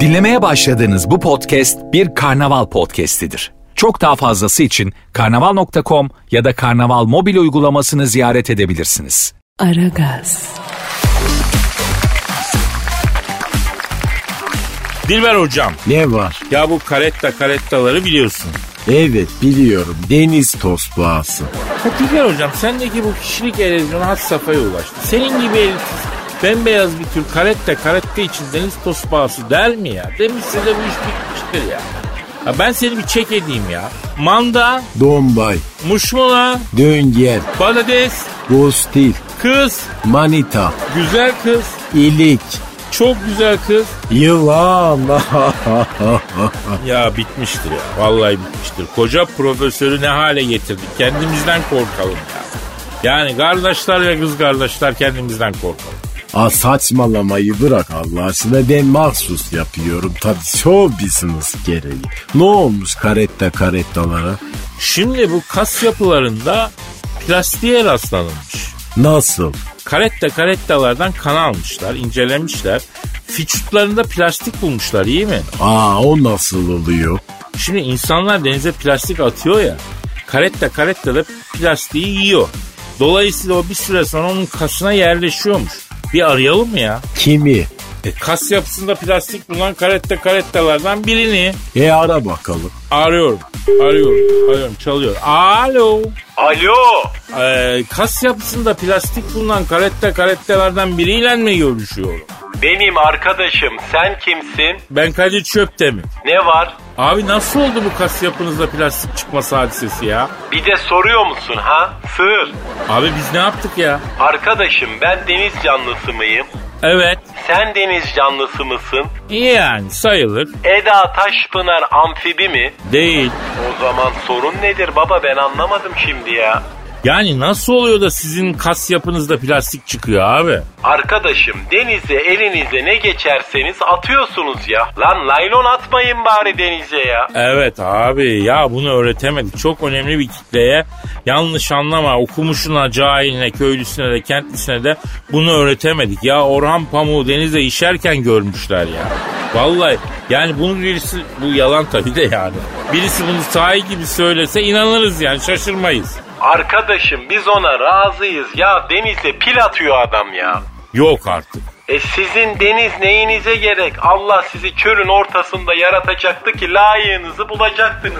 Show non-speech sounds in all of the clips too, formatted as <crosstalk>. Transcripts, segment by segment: Dinlemeye başladığınız bu podcast bir karnaval podcastidir. Çok daha fazlası için karnaval.com ya da karnaval mobil uygulamasını ziyaret edebilirsiniz. Aragaz, Dilber hocam Ne var? ya bu karetta karettaları biliyorsun. Evet biliyorum deniz tosbağası. Ya Dilber hocam sendeki bu kişilik erozyonu had safhaya ulaştı. Senin gibi elitiz bembeyaz bir tür karetta karetta için deniz tosbağası der mi ya? Demişse de bu iş bitmiştir ya. ya. ben seni bir çek edeyim ya. Manda, Dombay, muşmula, döngel, badades, gostil, kız, manita, güzel kız, ilik, çok güzel kız. yılan. <laughs> Ya bitmiştir ya. Vallahi bitmiştir. Koca profesörü ne hale getirdik. Kendimizden korkalım ya. Yani kardeşler ve kız kardeşler kendimizden korkalım. Aa, saçmalamayı bırak Allah aşkına ben mahsus yapıyorum tabii showbiziniz gereği. Ne olmuş karetta karettalara? Şimdi bu kas yapılarında plastiğe rastlanılmış. Nasıl? Karetta karettalardan kan almışlar, incelemişler. Fiçutlarında plastik bulmuşlar iyi mi? Aa o nasıl oluyor? Şimdi insanlar denize plastik atıyor ya. Karetta karetta da plastiği yiyor. Dolayısıyla o bir süre sonra onun kasına yerleşiyormuş. Bir arayalım mı ya? Kimi? E, kas yapısında plastik bulunan karette karettalardan birini E ara bakalım. arıyorum. Arıyorum. Arıyorum. Çalıyor. Alo. Alo. E, kas yapısında plastik bulunan karette karettalardan biriyle mi görüşüyorum? Benim arkadaşım sen kimsin? Ben Kadir Çöp'te mi? Ne var? Abi nasıl oldu bu kas yapınızda plastik çıkması hadisesi ya? Bir de soruyor musun ha? Sığır. Abi biz ne yaptık ya? Arkadaşım ben deniz canlısı mıyım? Evet. Sen deniz canlısı mısın? iyi Yani sayılır. Eda Taşpınar amfibi mi? Değil. O zaman sorun nedir baba ben anlamadım şimdi ya. Yani nasıl oluyor da sizin kas yapınızda plastik çıkıyor abi? Arkadaşım denize elinize ne geçerseniz atıyorsunuz ya. Lan laylon atmayın bari denize ya. Evet abi ya bunu öğretemedik. Çok önemli bir kitleye yanlış anlama okumuşuna, cahiline, köylüsüne de, kentlisine de bunu öğretemedik. Ya Orhan Pamuk'u denize işerken görmüşler ya. Vallahi yani bunu birisi, bu yalan tabii de yani. Birisi bunu sahi gibi söylese inanırız yani şaşırmayız. Arkadaşım biz ona razıyız ya denize pil atıyor adam ya. Yok artık. E sizin deniz neyinize gerek? Allah sizi çölün ortasında yaratacaktı ki layığınızı bulacaktınız.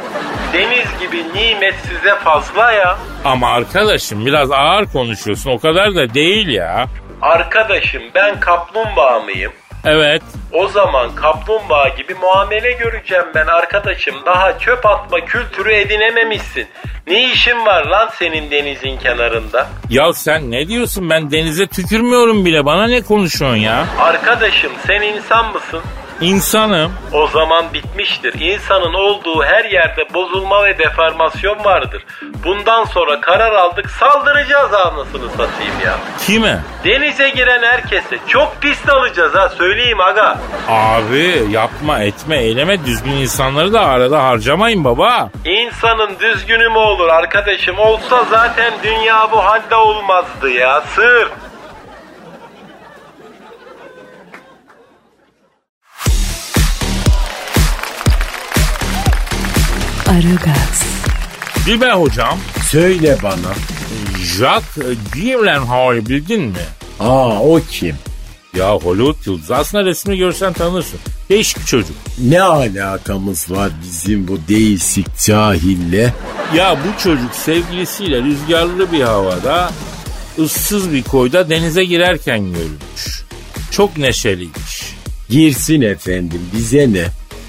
Deniz gibi nimet size fazla ya. Ama arkadaşım biraz ağır konuşuyorsun o kadar da değil ya. Arkadaşım ben kaplumbağa mıyım? Evet O zaman kaplumbağa gibi muamele göreceğim ben arkadaşım. Daha çöp atma kültürü edinememişsin. Ne işin var lan senin denizin kenarında? ya sen ne diyorsun ben denize tükürmüyorum bile bana ne konuşuyorsun ya? Arkadaşım sen insan mısın? İnsanım. O zaman bitmiştir. İnsanın olduğu her yerde bozulma ve deformasyon vardır. Bundan sonra karar aldık saldıracağız anasını satayım ya. Kime? Denize giren herkese çok pis alacağız ha söyleyeyim aga. Abi yapma etme eyleme düzgün insanları da arada harcamayın baba. İnsanın düzgünü mü olur arkadaşım? Olsa zaten dünya bu halde olmazdı ya sır. Aragaz, Dilber hocam. Söyle bana. Jacques Gyllenhaal'ı bildin mi? Aa o kim? Ya Hollywood yıldızı. Aslında resmi görsen tanırsın. Değişik bir çocuk. Ne alakamız var bizim bu değişik cahille? Ya bu çocuk sevgilisiyle rüzgarlı bir havada ıssız bir koyda denize girerken görülmüş. Çok neşeliymiş. Girsin efendim bize ne?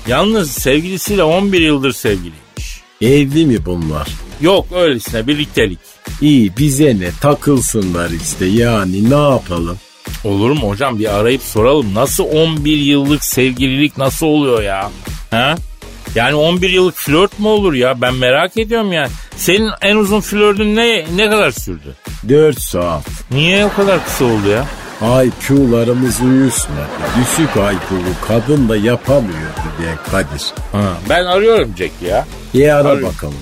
Yalnız sevgilisiyle 11 yıldır sevgiliymiş. Evli mi bunlar? Yok öylesine birliktelik. İyi bize ne takılsınlar işte yani ne yapalım? Olur mu hocam bir arayıp soralım. Nasıl 11 yıllık sevgililik nasıl oluyor ya? Ha? Yani 11 yıllık flört mü olur ya? Ben merak ediyorum yani. Senin en uzun flörtün ne ne kadar sürdü? 4 saat. Niye o kadar kısa oldu ya? IQ'larımız uyuşmadı. Düşük IQ'lu kadın da yapamıyordu diye Kadir. Ha, ben arıyorum Jack ya. İyi ara Arıyorum. bakalım.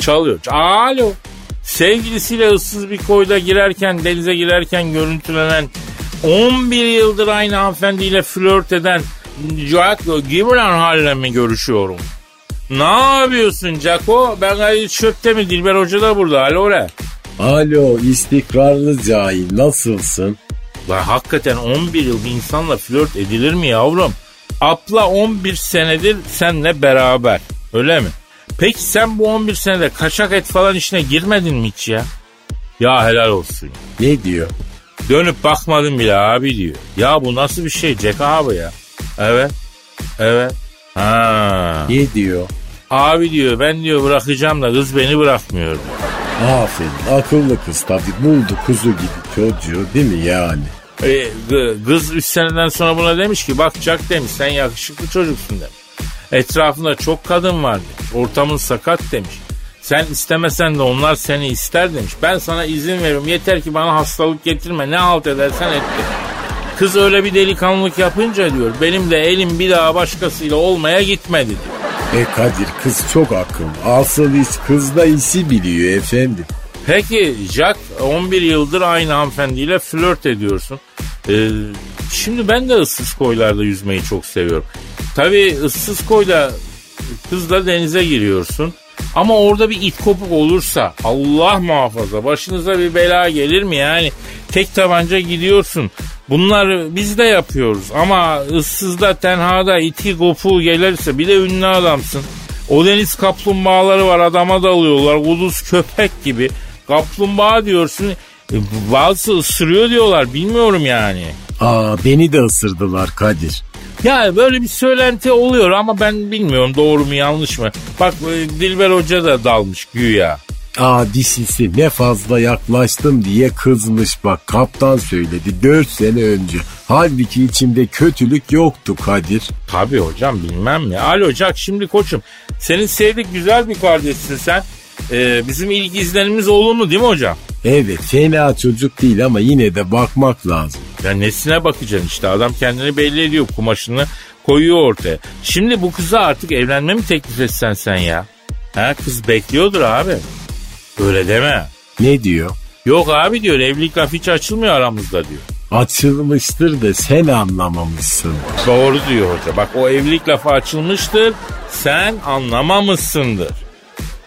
Çalıyor. Alo. Sevgilisiyle ıssız bir koyda girerken, denize girerken görüntülenen 11 yıldır aynı hanımefendiyle flört eden Jaco Gibran Hal'le mi görüşüyorum? Ne yapıyorsun Jaco? Ben gayet çöpte mi? Dilber Hoca da burada. Alo re. Alo istikrarlı cahil nasılsın? Lan hakikaten 11 yıl bir insanla flört edilir mi yavrum? Abla 11 senedir senle beraber. Öyle mi? Peki sen bu 11 senede kaçak et falan işine girmedin mi hiç ya? Ya helal olsun. Ne diyor? Dönüp bakmadım bile abi diyor. Ya bu nasıl bir şey Jack abi ya? Evet. Evet. Ha. Ne diyor? Abi diyor ben diyor bırakacağım da kız beni bırakmıyor. diyor. Aferin akıllı kız tabii buldu kuzu gibi çocuğu değil mi yani? E, gı- kız 3 seneden sonra buna demiş ki bak Jack demiş sen yakışıklı çocuksun demiş. Etrafında çok kadın var demiş. Ortamın sakat demiş. Sen istemesen de onlar seni ister demiş. Ben sana izin veriyorum yeter ki bana hastalık getirme ne halt edersen et demiş. Kız öyle bir delikanlılık yapınca diyor benim de elim bir daha başkasıyla olmaya gitmedi diyor. E Kadir kız çok akıllı. Asıl iş kız da işi biliyor efendim. Peki Jack 11 yıldır aynı hanımefendiyle flört ediyorsun. Ee, şimdi ben de ıssız koylarda yüzmeyi çok seviyorum. Tabii ıssız koyda kızla denize giriyorsun. Ama orada bir it kopuk olursa Allah muhafaza başınıza bir bela gelir mi yani? Tek tabanca gidiyorsun. Bunlar biz de yapıyoruz ama ıssızda tenhada iti kopuğu gelirse bir de ünlü adamsın. O deniz kaplumbağaları var adama dalıyorlar. Ulus köpek gibi. Kaplumbağa diyorsun. E, Bazısı ısırıyor diyorlar. Bilmiyorum yani. Aa beni de ısırdılar Kadir. Ya böyle bir söylenti oluyor ama ben bilmiyorum doğru mu yanlış mı. Bak e, Dilber Hoca da dalmış güya. Aa dişisi ne fazla yaklaştım diye kızmış bak kaptan söyledi 4 sene önce. Halbuki içimde kötülük yoktu Kadir. Tabii hocam bilmem ne. Alo Jack şimdi koçum. Senin sevdik güzel bir kardeşsin sen. E, bizim ilk izlenimiz olumlu değil mi hocam? Evet fena çocuk değil ama yine de bakmak lazım. Ya nesine bakacaksın işte adam kendini belli ediyor kumaşını koyuyor ortaya. Şimdi bu kıza artık evlenme mi teklif etsen sen ya? Ha kız bekliyordur abi. Öyle deme. Ne diyor? Yok abi diyor evlilik lafı hiç açılmıyor aramızda diyor. Açılmıştır da sen anlamamışsın. Doğru diyor hoca. Bak o evlilik lafı açılmıştır. Sen anlamamışsındır.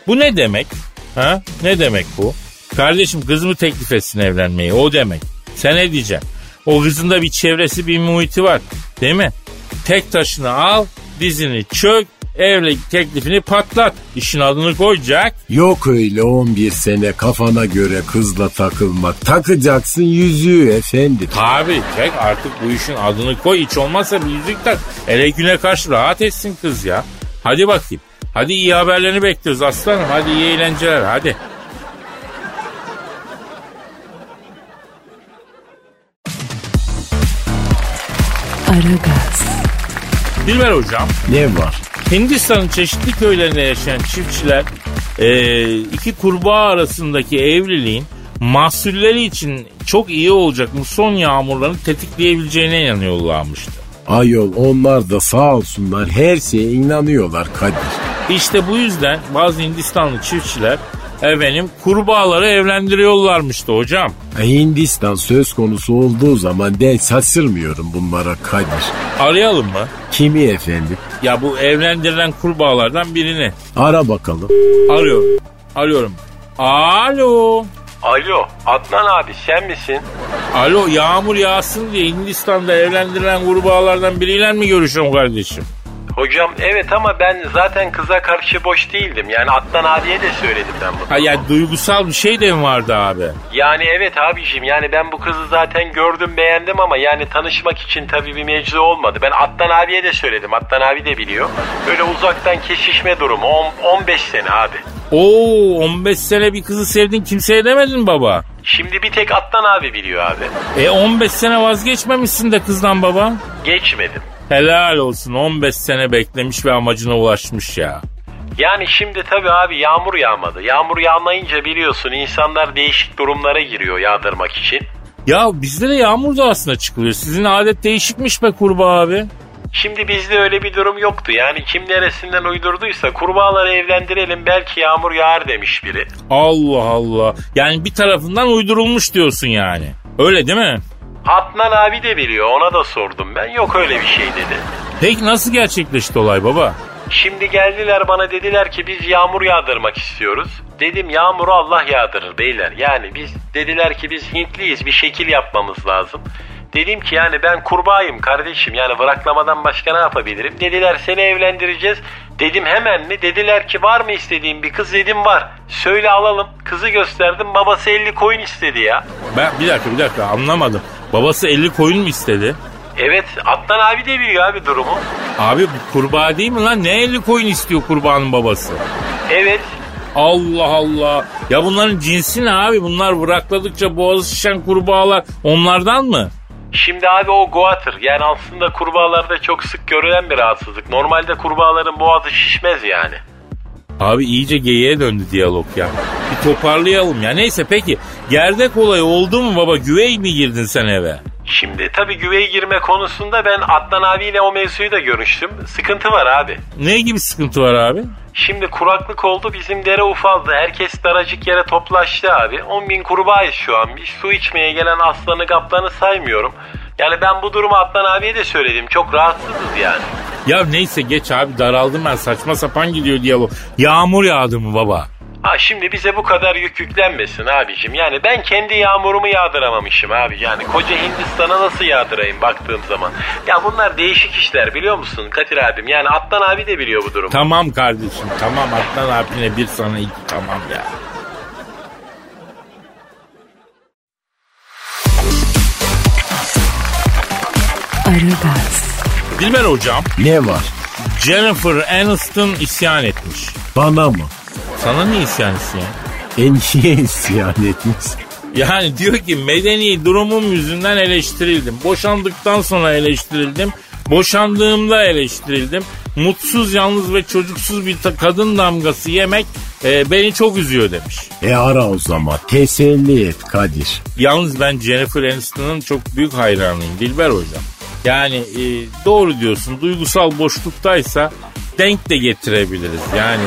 Bu ne demek? Ha? Ne demek bu? Kardeşim kız mı teklif etsin evlenmeyi? O demek. Sen ne diyeceksin? O kızın da bir çevresi bir muhiti var. Değil mi? Tek taşını al, dizini çök, evlilik teklifini patlat. İşin adını koyacak. Yok öyle 11 sene kafana göre kızla takılmak. Takacaksın yüzüğü efendim. Tabi çek artık bu işin adını koy. Hiç olmazsa bir yüzük tak. Ele güne karşı rahat etsin kız ya. Hadi bakayım. Hadi iyi haberlerini bekliyoruz aslanım. Hadi iyi eğlenceler hadi. Aragaz, Dilber hocam. Ne var? Hindistan'ın çeşitli köylerinde yaşayan çiftçiler eee, iki kurbağa arasındaki evliliğin mahsulleri için çok iyi olacak muson yağmurlarını tetikleyebileceğine inanıyorlarmıştı. Ayol onlar da sağ olsunlar her şeye inanıyorlar Kadir. İşte bu yüzden bazı Hindistanlı çiftçiler efendim kurbağaları evlendiriyorlarmıştı hocam. E, Hindistan söz konusu olduğu zaman ben şaşırmıyorum bunlara Kadir. Arayalım mı? Kimi efendim? Ya bu evlendirilen kurbağalardan birini. Ara bakalım. Arıyorum. Arıyorum. Alo. Alo Adnan abi sen misin? Alo yağmur yağsın diye Hindistan'da evlendirilen kurbağalardan biriyle mi görüşüyorum kardeşim? Hocam evet ama ben zaten kıza karşı boş değildim. Yani Adnan abiye de söyledim ben bunu. Ha ya duygusal bir şey de mi vardı abi? Yani evet abicim yani ben bu kızı zaten gördüm beğendim ama yani tanışmak için tabii bir meclis olmadı. Ben Adnan abiye de söyledim. Adnan abi de biliyor. Böyle uzaktan kesişme durumu On- 15 sene abi. Oo 15 sene bir kızı sevdin kimseye demedin baba. Şimdi bir tek Adnan abi biliyor abi. E 15 sene vazgeçmemişsin de kızdan baba. Geçmedim. Helal olsun 15 sene beklemiş ve amacına ulaşmış ya. Yani şimdi tabii abi yağmur yağmadı. Yağmur yağmayınca biliyorsun insanlar değişik durumlara giriyor yağdırmak için. Ya bizde de yağmur da aslında çıkılıyor. Sizin adet değişikmiş be kurbağa abi. Şimdi bizde öyle bir durum yoktu. Yani kim neresinden uydurduysa kurbağaları evlendirelim belki yağmur yağar demiş biri. Allah Allah. Yani bir tarafından uydurulmuş diyorsun yani. Öyle değil mi? Adnan abi de biliyor ona da sordum ben. Yok öyle bir şey dedi. Peki nasıl gerçekleşti olay baba? Şimdi geldiler bana dediler ki biz yağmur yağdırmak istiyoruz. Dedim yağmuru Allah yağdırır beyler. Yani biz dediler ki biz Hintliyiz bir şekil yapmamız lazım. Dedim ki yani ben kurbağayım kardeşim yani bıraklamadan başka ne yapabilirim? Dediler seni evlendireceğiz. Dedim hemen mi? Dediler ki var mı istediğin bir kız? Dedim var. Söyle alalım. Kızı gösterdim babası 50 koyun istedi ya. Ben bir dakika bir dakika anlamadım. Babası 50 koyun mu istedi? Evet Adnan abi de biliyor abi durumu. Abi bu kurbağa değil mi lan? Ne 50 koyun istiyor kurbağanın babası? Evet Allah Allah. Ya bunların cinsi ne abi? Bunlar bırakladıkça boğazı şişen kurbağalar onlardan mı? Şimdi abi o goatır. Yani aslında kurbağalarda çok sık görülen bir rahatsızlık. Normalde kurbağaların boğazı şişmez yani. Abi iyice geyiğe döndü diyalog ya. Bir toparlayalım ya. Neyse peki gerdek olayı oldu mu baba? Güvey mi girdin sen eve? Şimdi tabii güveye girme konusunda ben Adnan abiyle o mevzuyu da görüştüm. Sıkıntı var abi. Ne gibi sıkıntı var abi? Şimdi kuraklık oldu bizim dere ufaldı. Herkes daracık yere toplaştı abi. 10 bin kurbağayız şu an. Bir su içmeye gelen aslanı kaplanı saymıyorum. Yani ben bu durumu Adnan abiye de söyledim. Çok rahatsızız yani. Ya neyse geç abi daraldım ben saçma sapan gidiyor diyalog. Yağmur yağdı mı baba? Ha şimdi bize bu kadar yük yüklenmesin abicim. Yani ben kendi yağmurumu yağdıramamışım abi. Yani koca Hindistan'a nasıl yağdırayım baktığım zaman. Ya bunlar değişik işler biliyor musun Kadir abim? Yani Atlan abi de biliyor bu durumu. Tamam kardeşim tamam Adnan abine bir sana iki tamam ya. Aragaz, Dilber hocam Ne var? Jennifer Aniston isyan etmiş. Bana mı? Sana niye isyan etsin ya? E niye <laughs> isyan etmiş? Yani diyor ki medeni durumum yüzünden eleştirildim. Boşandıktan sonra eleştirildim. Boşandığımda eleştirildim. Mutsuz, yalnız ve çocuksuz bir ta- kadın damgası yemek e, beni çok üzüyor demiş. E ara o zaman. Teselli et Kadir. Yalnız ben Jennifer Aniston'un çok büyük hayranıyım Dilber hocam. Yani e, doğru diyorsun duygusal boşluktaysa denk de getirebiliriz. Yani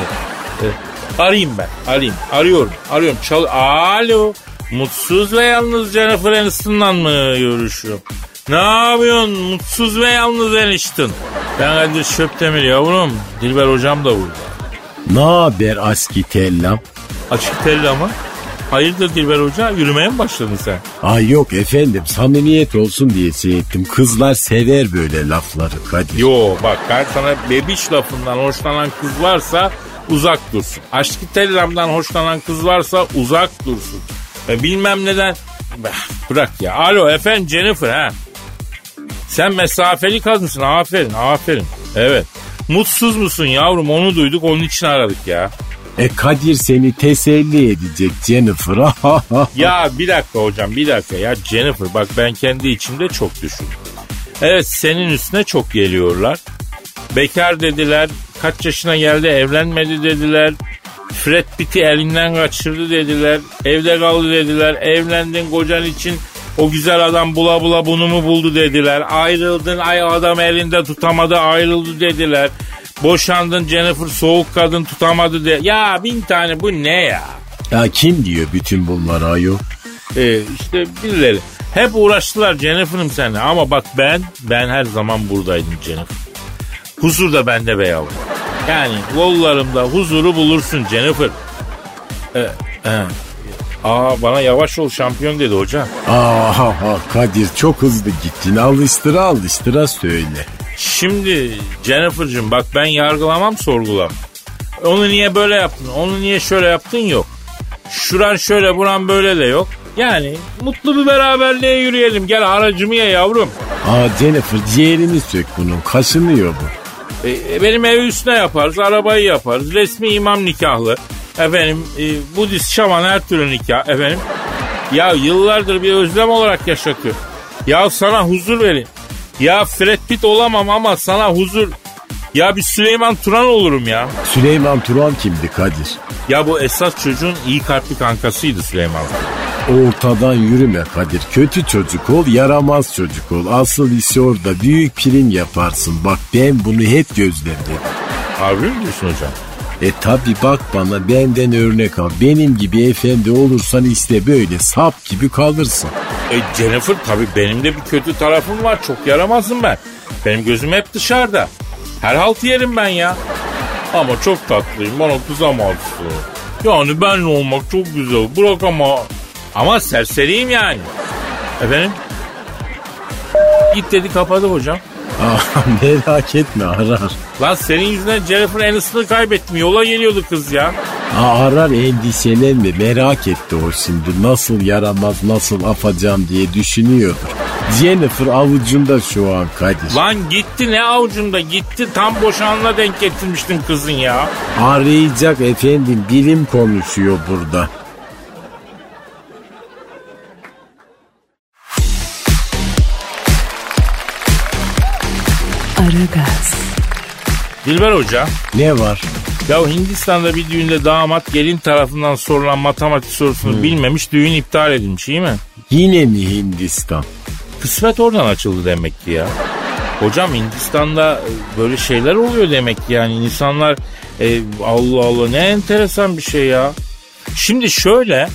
e, arayayım ben arayayım arıyorum arıyorum. Çal Alo mutsuz ve yalnız Jennifer Aniston'la mı görüşüyorum? Ne yapıyorsun mutsuz ve yalnız Aniston? Ben Kadir Şöptemir yavrum Dilber hocam da burada. Ne haber aski tellam? Açık telli ama. Hayırdır Dilber hoca yürümeye mi başladın sen? Ay yok efendim samimiyet olsun diye şey ettim. Kızlar sever böyle lafları Kadir. Yo bak ben sana bebiş lafından hoşlanan kız varsa uzak dursun. Aşkı tellamdan hoşlanan kız varsa uzak dursun. E, bilmem neden. Bah, Bırak ya. Alo efendim Jennifer ha. Sen mesafeli kadınsın aferin aferin. Evet. Mutsuz musun yavrum onu duyduk onun için aradık ya. E Kadir seni teselli edecek Jennifer. <laughs> Ya bir dakika hocam bir dakika ya Jennifer bak ben kendi içimde çok düşündüm. Evet senin üstüne çok geliyorlar. Bekar dediler, kaç yaşına geldi evlenmedi dediler. Fred Pitt'i elinden kaçırdı dediler. Evde kaldı dediler. Evlendin kocan için o güzel adam bula bula bunu mu buldu dediler. Ayrıldın ay adam elinde tutamadı ayrıldı dediler. Boşandın Jennifer soğuk kadın tutamadı de. Ya bin tane bu ne ya? ya kim diyor bütün bunları ayol? Ee, işte birileri. Hep uğraştılar Jennifer'ım seninle ama bak ben, ben her zaman buradaydım Jennifer. Huzur da bende be yavrum. Yani yollarımda huzuru bulursun Jennifer. Ee, e. Aa bana yavaş ol şampiyon dedi hocam. Aha Kadir çok hızlı gittin. Alıştıra alıştıra söyle. Şimdi Jennifer'cığım bak ben yargılamam sorgulam. Onu niye böyle yaptın, onu niye şöyle yaptın yok. Şuran şöyle buran böyle de yok. Yani mutlu bir beraberliğe yürüyelim. Gel aracımı ye yavrum. Aa Jennifer ciğerini sök bunun. Kaşınıyor bu. E, benim evi üstüne yaparız, arabayı yaparız. Resmi imam nikahlı. Efendim e, Budist, şaman her türlü nikah. Efendim ya yıllardır bir özlem olarak yaşatıyor. Ya sana huzur verin. Ya Fred Pitt olamam ama sana huzur. Ya bir Süleyman Turan olurum ya. Süleyman Turan kimdi Kadir? Ya bu esas çocuğun iyi kalpli kankasıydı Süleyman. Ortadan yürüme Kadir. Kötü çocuk ol, yaramaz çocuk ol. Asıl işi orada büyük prim yaparsın. Bak ben bunu hep gözlemledim. Harbi mi diyorsun hocam? E tabi bak bana benden örnek al. Benim gibi efendi olursan işte böyle sap gibi kalırsın. E Jennifer tabii benim de bir kötü tarafım var. Çok yaramazım ben. Benim gözüm hep dışarıda. Her haltı yerim ben ya. Ama çok tatlıyım. Bana kızamazsın. Yani benle olmak çok güzel. Bırak ama. Ama serseriyim yani. Efendim? Git dedi kapadı hocam. Aa, <laughs> merak etme arar. Lan senin yüzünden Jennifer Aniston'ı kaybettim. Yola geliyordu kız ya. Aa, arar endişelenme merak etti o şimdi. Nasıl yaramaz nasıl afacağım diye düşünüyordur. Jennifer avucunda şu an Kadir. Lan gitti ne avucumda gitti. Tam boşanla denk getirmiştim kızın ya. Arayacak efendim bilim konuşuyor burada. Aragaz, Dilber Hoca. Ne var? Ya Hindistan'da bir düğünde damat gelin tarafından sorulan matematik sorusunu bilmemiş düğün iptal edilmiş iyi mi? Yine mi Hindistan? Kısmet oradan açıldı demek ki ya. Hocam Hindistan'da e, böyle şeyler oluyor demek ki yani insanlar e, Allah Allah ne enteresan bir şey ya. Şimdi şöyle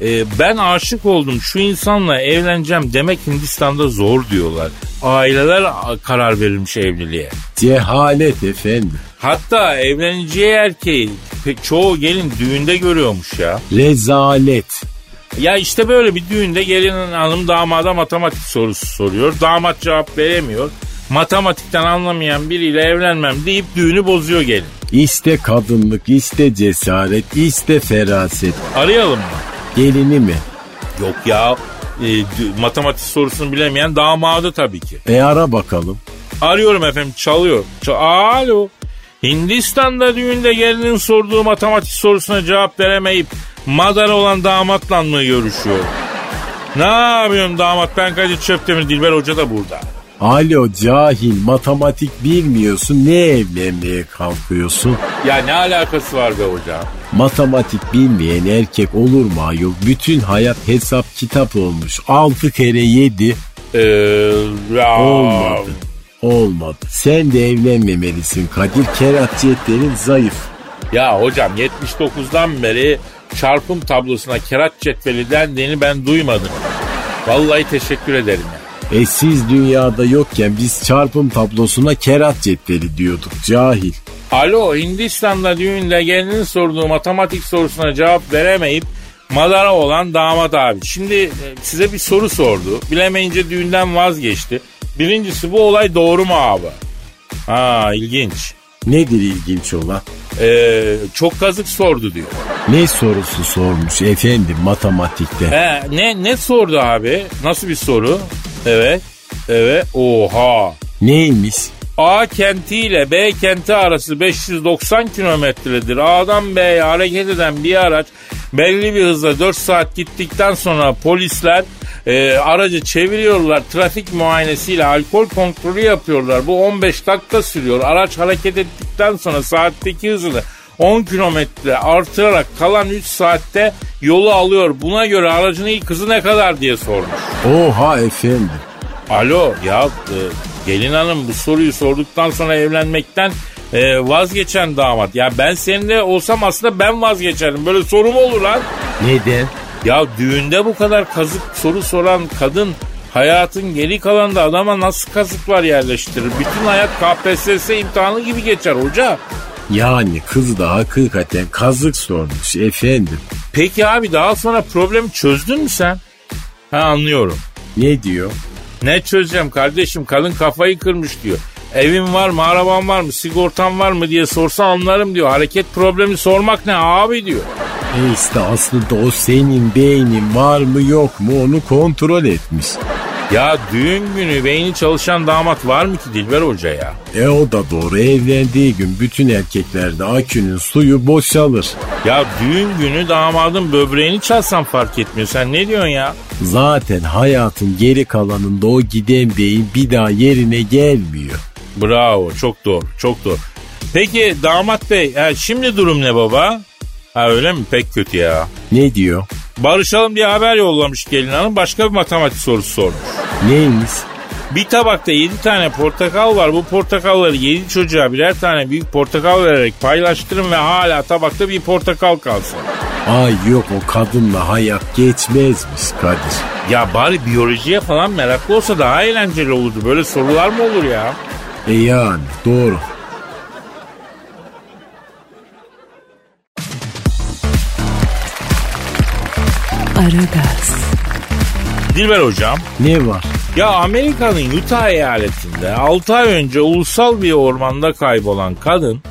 e, ben aşık oldum şu insanla evleneceğim demek Hindistan'da zor diyorlar. Aileler a, karar verilmiş evliliğe. Cehalet efendim. Hatta evleneceği erkeği pe- çoğu gelin düğünde görüyormuş ya. Rezalet. Ya işte böyle bir düğünde gelinin hanım damada matematik sorusu soruyor. Damat cevap veremiyor. Matematikten anlamayan biriyle evlenmem deyip düğünü bozuyor gelin. İste kadınlık, iste cesaret, iste feraset. Arayalım mı? Gelini mi? Yok ya e, dü- matematik sorusunu bilemeyen damadı tabii ki. E ara bakalım. Arıyorum efendim çalıyor. Ç- Alo. Hindistan'da düğünde gelinin sorduğu matematik sorusuna cevap veremeyip madar olan damatla mı görüşüyor? Ne yapıyorsun damat? Ben Kadir Çöptemir, Dilber Hoca da burada. Alo cahil matematik bilmiyorsun ne evlenmeye kalkıyorsun? Ya ne alakası var be hocam? Matematik bilmeyen erkek olur mu ayol? Bütün hayat hesap kitap olmuş. 6 kere 7 Ee, ya- olmadı. Olmadı. Sen de evlenmemelisin Kadir. Keratiyetlerin zayıf. Ya hocam 79'dan beri çarpım tablosuna kerat cetveli dendiğini ben duymadım. Vallahi teşekkür ederim ya. E siz dünyada yokken biz çarpım tablosuna kerat cetveli diyorduk cahil. Alo Hindistan'da düğünde gelinin sorduğu matematik sorusuna cevap veremeyip madara olan damat abi. Şimdi e, size bir soru sordu. Bilemeyince düğünden vazgeçti. Birincisi bu olay doğru mu abi? Ha ilginç. Nedir ilginç olan? Ee, çok kazık sordu diyor. Ne sorusu sormuş efendim matematikte? He, ne ne sordu abi? Nasıl bir soru? Evet. Evet. Oha. Neymiş? A kenti ile B kenti arası 590 kilometredir. A'dan B'ye hareket eden bir araç belli bir hızla 4 saat gittikten sonra polisler e, aracı çeviriyorlar. Trafik muayenesiyle alkol kontrolü yapıyorlar. Bu 15 dakika sürüyor. Araç hareket ettikten sonra saatteki hızını 10 kilometre artırarak kalan 3 saatte yolu alıyor. Buna göre aracın ilk hızı ne kadar diye sormuş. Oha efendim. Alo ya e, gelin hanım bu soruyu sorduktan sonra evlenmekten e, vazgeçen damat. Ya ben seninle olsam aslında ben vazgeçerim. Böyle soru mu olur lan? Neden? Ya düğünde bu kadar kazık soru soran kadın hayatın geri kalanında adama nasıl kazıklar yerleştirir? Bütün hayat KPSS imtihanı gibi geçer hoca. Yani kız da hakikaten kazık sormuş efendim. Peki abi daha sonra problemi çözdün mü sen? Ha anlıyorum. Ne diyor? Ne çözeceğim kardeşim kadın kafayı kırmış diyor. Evin var mı araban var mı sigortan var mı diye sorsa anlarım diyor. Hareket problemi sormak ne abi diyor. E işte aslında o senin beynin var mı yok mu onu kontrol etmiş. Ya düğün günü beyni çalışan damat var mı ki Dilber Hoca ya? E o da doğru evlendiği gün bütün erkeklerde akünün suyu boşalır. Ya düğün günü damadın böbreğini çalsan fark etmiyor. Sen ne diyorsun ya? Zaten hayatın geri kalanında o giden beyin bir daha yerine gelmiyor. Bravo çok doğru çok doğru. Peki damat bey ha, şimdi durum ne baba? Ha öyle mi? Pek kötü ya. Ne diyor? Barışalım diye haber yollamış gelin hanım. Başka bir matematik sorusu sormuş. Neymiş? Bir tabakta 7 tane portakal var. Bu portakalları 7 çocuğa birer tane büyük portakal vererek paylaştırın ve hala tabakta bir portakal kalsın. Ay yok o kadınla hayat geçmezmiş Kadir. Ya bari biyolojiye falan meraklı olsa daha eğlenceli olurdu. Böyle sorular mı olur ya? E yani doğru. Aragaz, Dilber hocam. Ne var? Ya Amerika'nın Utah eyaletinde 6 ay önce ulusal bir ormanda kaybolan kadın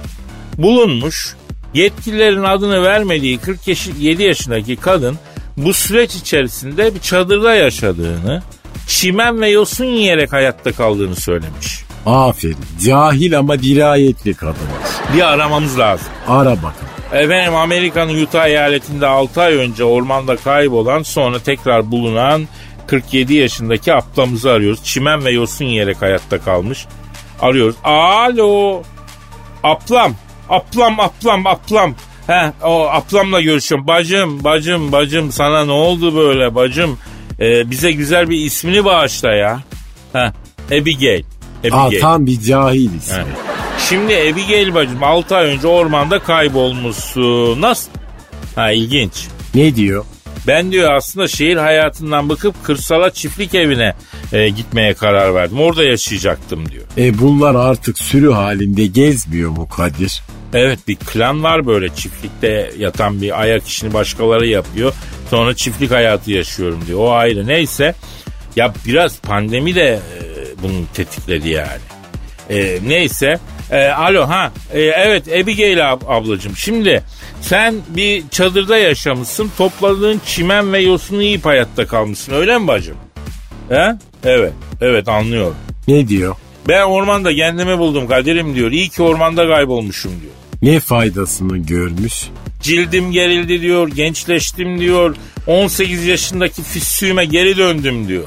bulunmuş. Yetkililerin adını vermediği 47 yaşındaki kadın bu süreç içerisinde bir çadırda yaşadığını, çimen ve yosun yiyerek hayatta kaldığını söylemiş. Aferin. Cahil ama dirayetli kadınız. Bir aramamız lazım. Ara bakın. Efendim Amerika'nın Utah eyaletinde 6 ay önce ormanda kaybolan sonra tekrar bulunan 47 yaşındaki ablamızı arıyoruz. Çimen ve yosun yiyerek hayatta kalmış. Arıyoruz. Alo. Ablam. Ablam ablam ablam. He, o ablamla görüşüyorum. Bacım bacım bacım sana ne oldu böyle bacım? Ee, bize güzel bir ismini bağışla ya. He, Abigail. Aa, Abigail. tam bir cahiliz. Evet. Şimdi Abigail bacım 6 ay önce ormanda kaybolmuşsun. Nasıl? Ha ilginç. Ne diyor? Ben diyor aslında şehir hayatından bıkıp kırsala çiftlik evine e, gitmeye karar verdim. Orada yaşayacaktım diyor. E bunlar artık sürü halinde gezmiyor mu Kadir? Evet bir klan var böyle çiftlikte yatan bir ayak işini başkaları yapıyor. Sonra çiftlik hayatı yaşıyorum diyor. O ayrı neyse. Ya biraz pandemi de e, bunu tetikledi yani. E, neyse. E, alo ha. E, evet Abigail ab- ablacığım. Şimdi sen bir çadırda yaşamışsın. Topladığın çimen ve yosunu yiyip hayatta kalmışsın. Öyle mi bacım? He? Evet. Evet anlıyorum. Ne diyor? Ben ormanda kendimi buldum Kadir'im diyor. İyi ki ormanda kaybolmuşum diyor. Ne faydasını görmüş? Cildim gerildi diyor, gençleştim diyor, 18 yaşındaki füssüğüme geri döndüm diyor.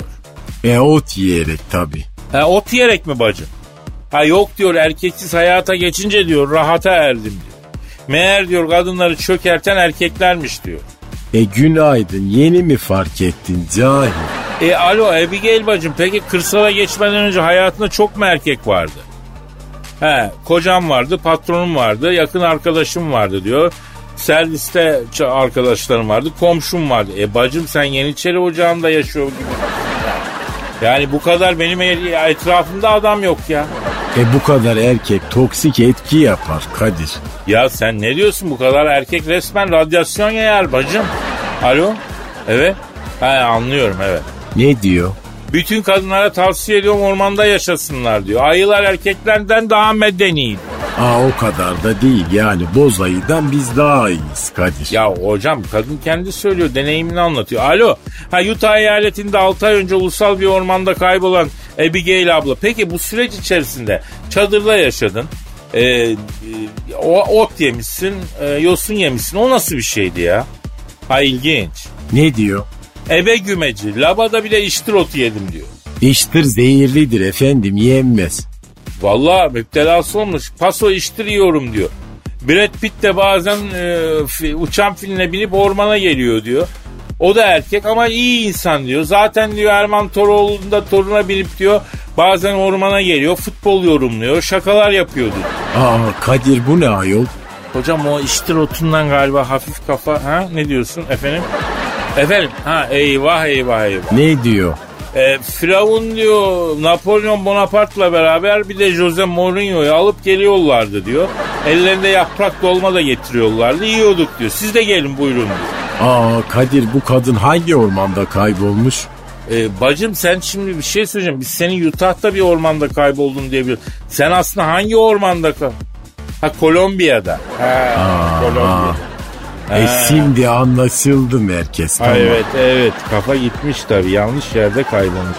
E ot yiyerek tabii. Ha, ot yiyerek mi bacım? Ha yok diyor erkeksiz hayata geçince diyor rahata erdim diyor. Meğer diyor kadınları çökerten erkeklermiş diyor. E günaydın yeni mi fark ettin cahil? E alo Abigail bacım peki kırsala geçmeden önce hayatında çok mu erkek vardı? He kocam vardı, patronum vardı, yakın arkadaşım vardı diyor. Serviste ç- arkadaşlarım vardı, komşum vardı. E bacım sen Yeniçeri Ocağı'nda yaşıyor gibi. Yani bu kadar benim el- etrafımda adam yok ya. E bu kadar erkek toksik etki yapar Kadir. Ya sen ne diyorsun bu kadar erkek resmen radyasyon yayar bacım. Alo? Evet? He anlıyorum evet. Ne diyor? Bütün kadınlara tavsiye ediyorum ormanda yaşasınlar diyor. Ayılar erkeklerden daha medeni. Aa o kadar da değil yani bozayıdan biz daha iyiyiz Kadir. Ya hocam kadın kendi söylüyor deneyimini anlatıyor. Alo ha Utah eyaletinde 6 ay önce ulusal bir ormanda kaybolan Abigail abla. Peki bu süreç içerisinde çadırda yaşadın. Ee, e, o ot yemişsin, e, yosun yemişsin. O nasıl bir şeydi ya? Ha ilginç. Ne diyor? Ebe gümeci, labada bile iştirotu yedim diyor. İştir zehirlidir efendim yenmez. Valla müptelası olmuş. Paso iştiriyorum diyor. Brad Pitt de bazen e, fi- uçan filine binip ormana geliyor diyor. O da erkek ama iyi insan diyor. Zaten diyor Erman Toroğlu'nda toruna binip diyor bazen ormana geliyor. Futbol yorumluyor. Şakalar yapıyordu. Aa Kadir bu ne ayol? Hocam o iştir otundan galiba hafif kafa. Ha ne diyorsun efendim? Efendim ha eyvah eyvah eyvah. Ne diyor? E, Firavun diyor Napolyon Bonaparte'la beraber bir de Jose Mourinho'yu alıp geliyorlardı diyor. Ellerinde yaprak dolma da getiriyorlardı. Yiyorduk diyor. Siz de gelin buyurun diyor. Aa Kadir bu kadın hangi ormanda kaybolmuş? E, bacım sen şimdi bir şey söyleyeceğim. Biz senin Utah'ta bir ormanda kayboldun diye bir... Sen aslında hangi ormanda kay... Ha Kolombiya'da. Ha, Kolombiya'da. E şimdi anlaşıldı merkez Ha, tamam. Evet evet kafa gitmiş tabii yanlış yerde kaybolmuş.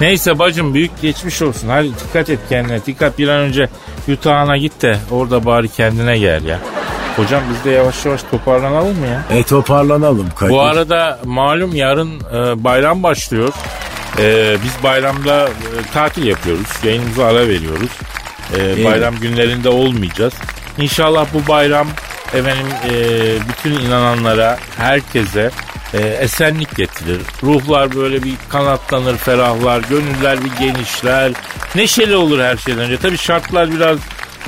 Neyse bacım büyük geçmiş olsun. Hadi dikkat et kendine. Dikkat bir an önce Utah'ına git de orada bari kendine gel ya. Hocam biz de yavaş yavaş toparlanalım mı ya? E toparlanalım Kadir. Bu arada malum yarın e, bayram başlıyor. E, biz bayramda e, tatil yapıyoruz. Yayınımıza ara veriyoruz. E, bayram günlerinde olmayacağız. İnşallah bu bayram efendim e, bütün inananlara, herkese e, esenlik getirir. Ruhlar böyle bir kanatlanır, ferahlar, gönüller bir genişler. Neşeli olur her şeyden önce. Tabii şartlar biraz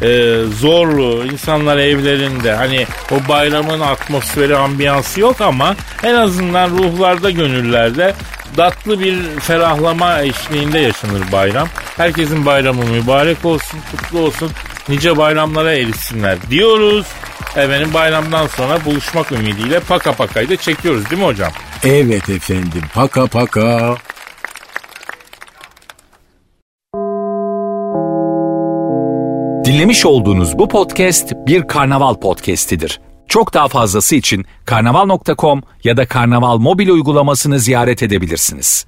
e, zorlu. İnsanlar evlerinde hani o bayramın atmosferi, ambiyansı yok ama en azından ruhlarda, gönüllerde tatlı bir ferahlama eşliğinde yaşanır bayram. Herkesin bayramı mübarek olsun, kutlu olsun. Nice bayramlara erişsinler diyoruz. Efendim bayramdan sonra buluşmak ümidiyle paka pakayı da çekiyoruz değil mi hocam? Evet efendim paka paka. Dinlemiş olduğunuz bu podcast bir karnaval podcastidir. Çok daha fazlası için karnaval.com ya da karnaval mobil uygulamasını ziyaret edebilirsiniz.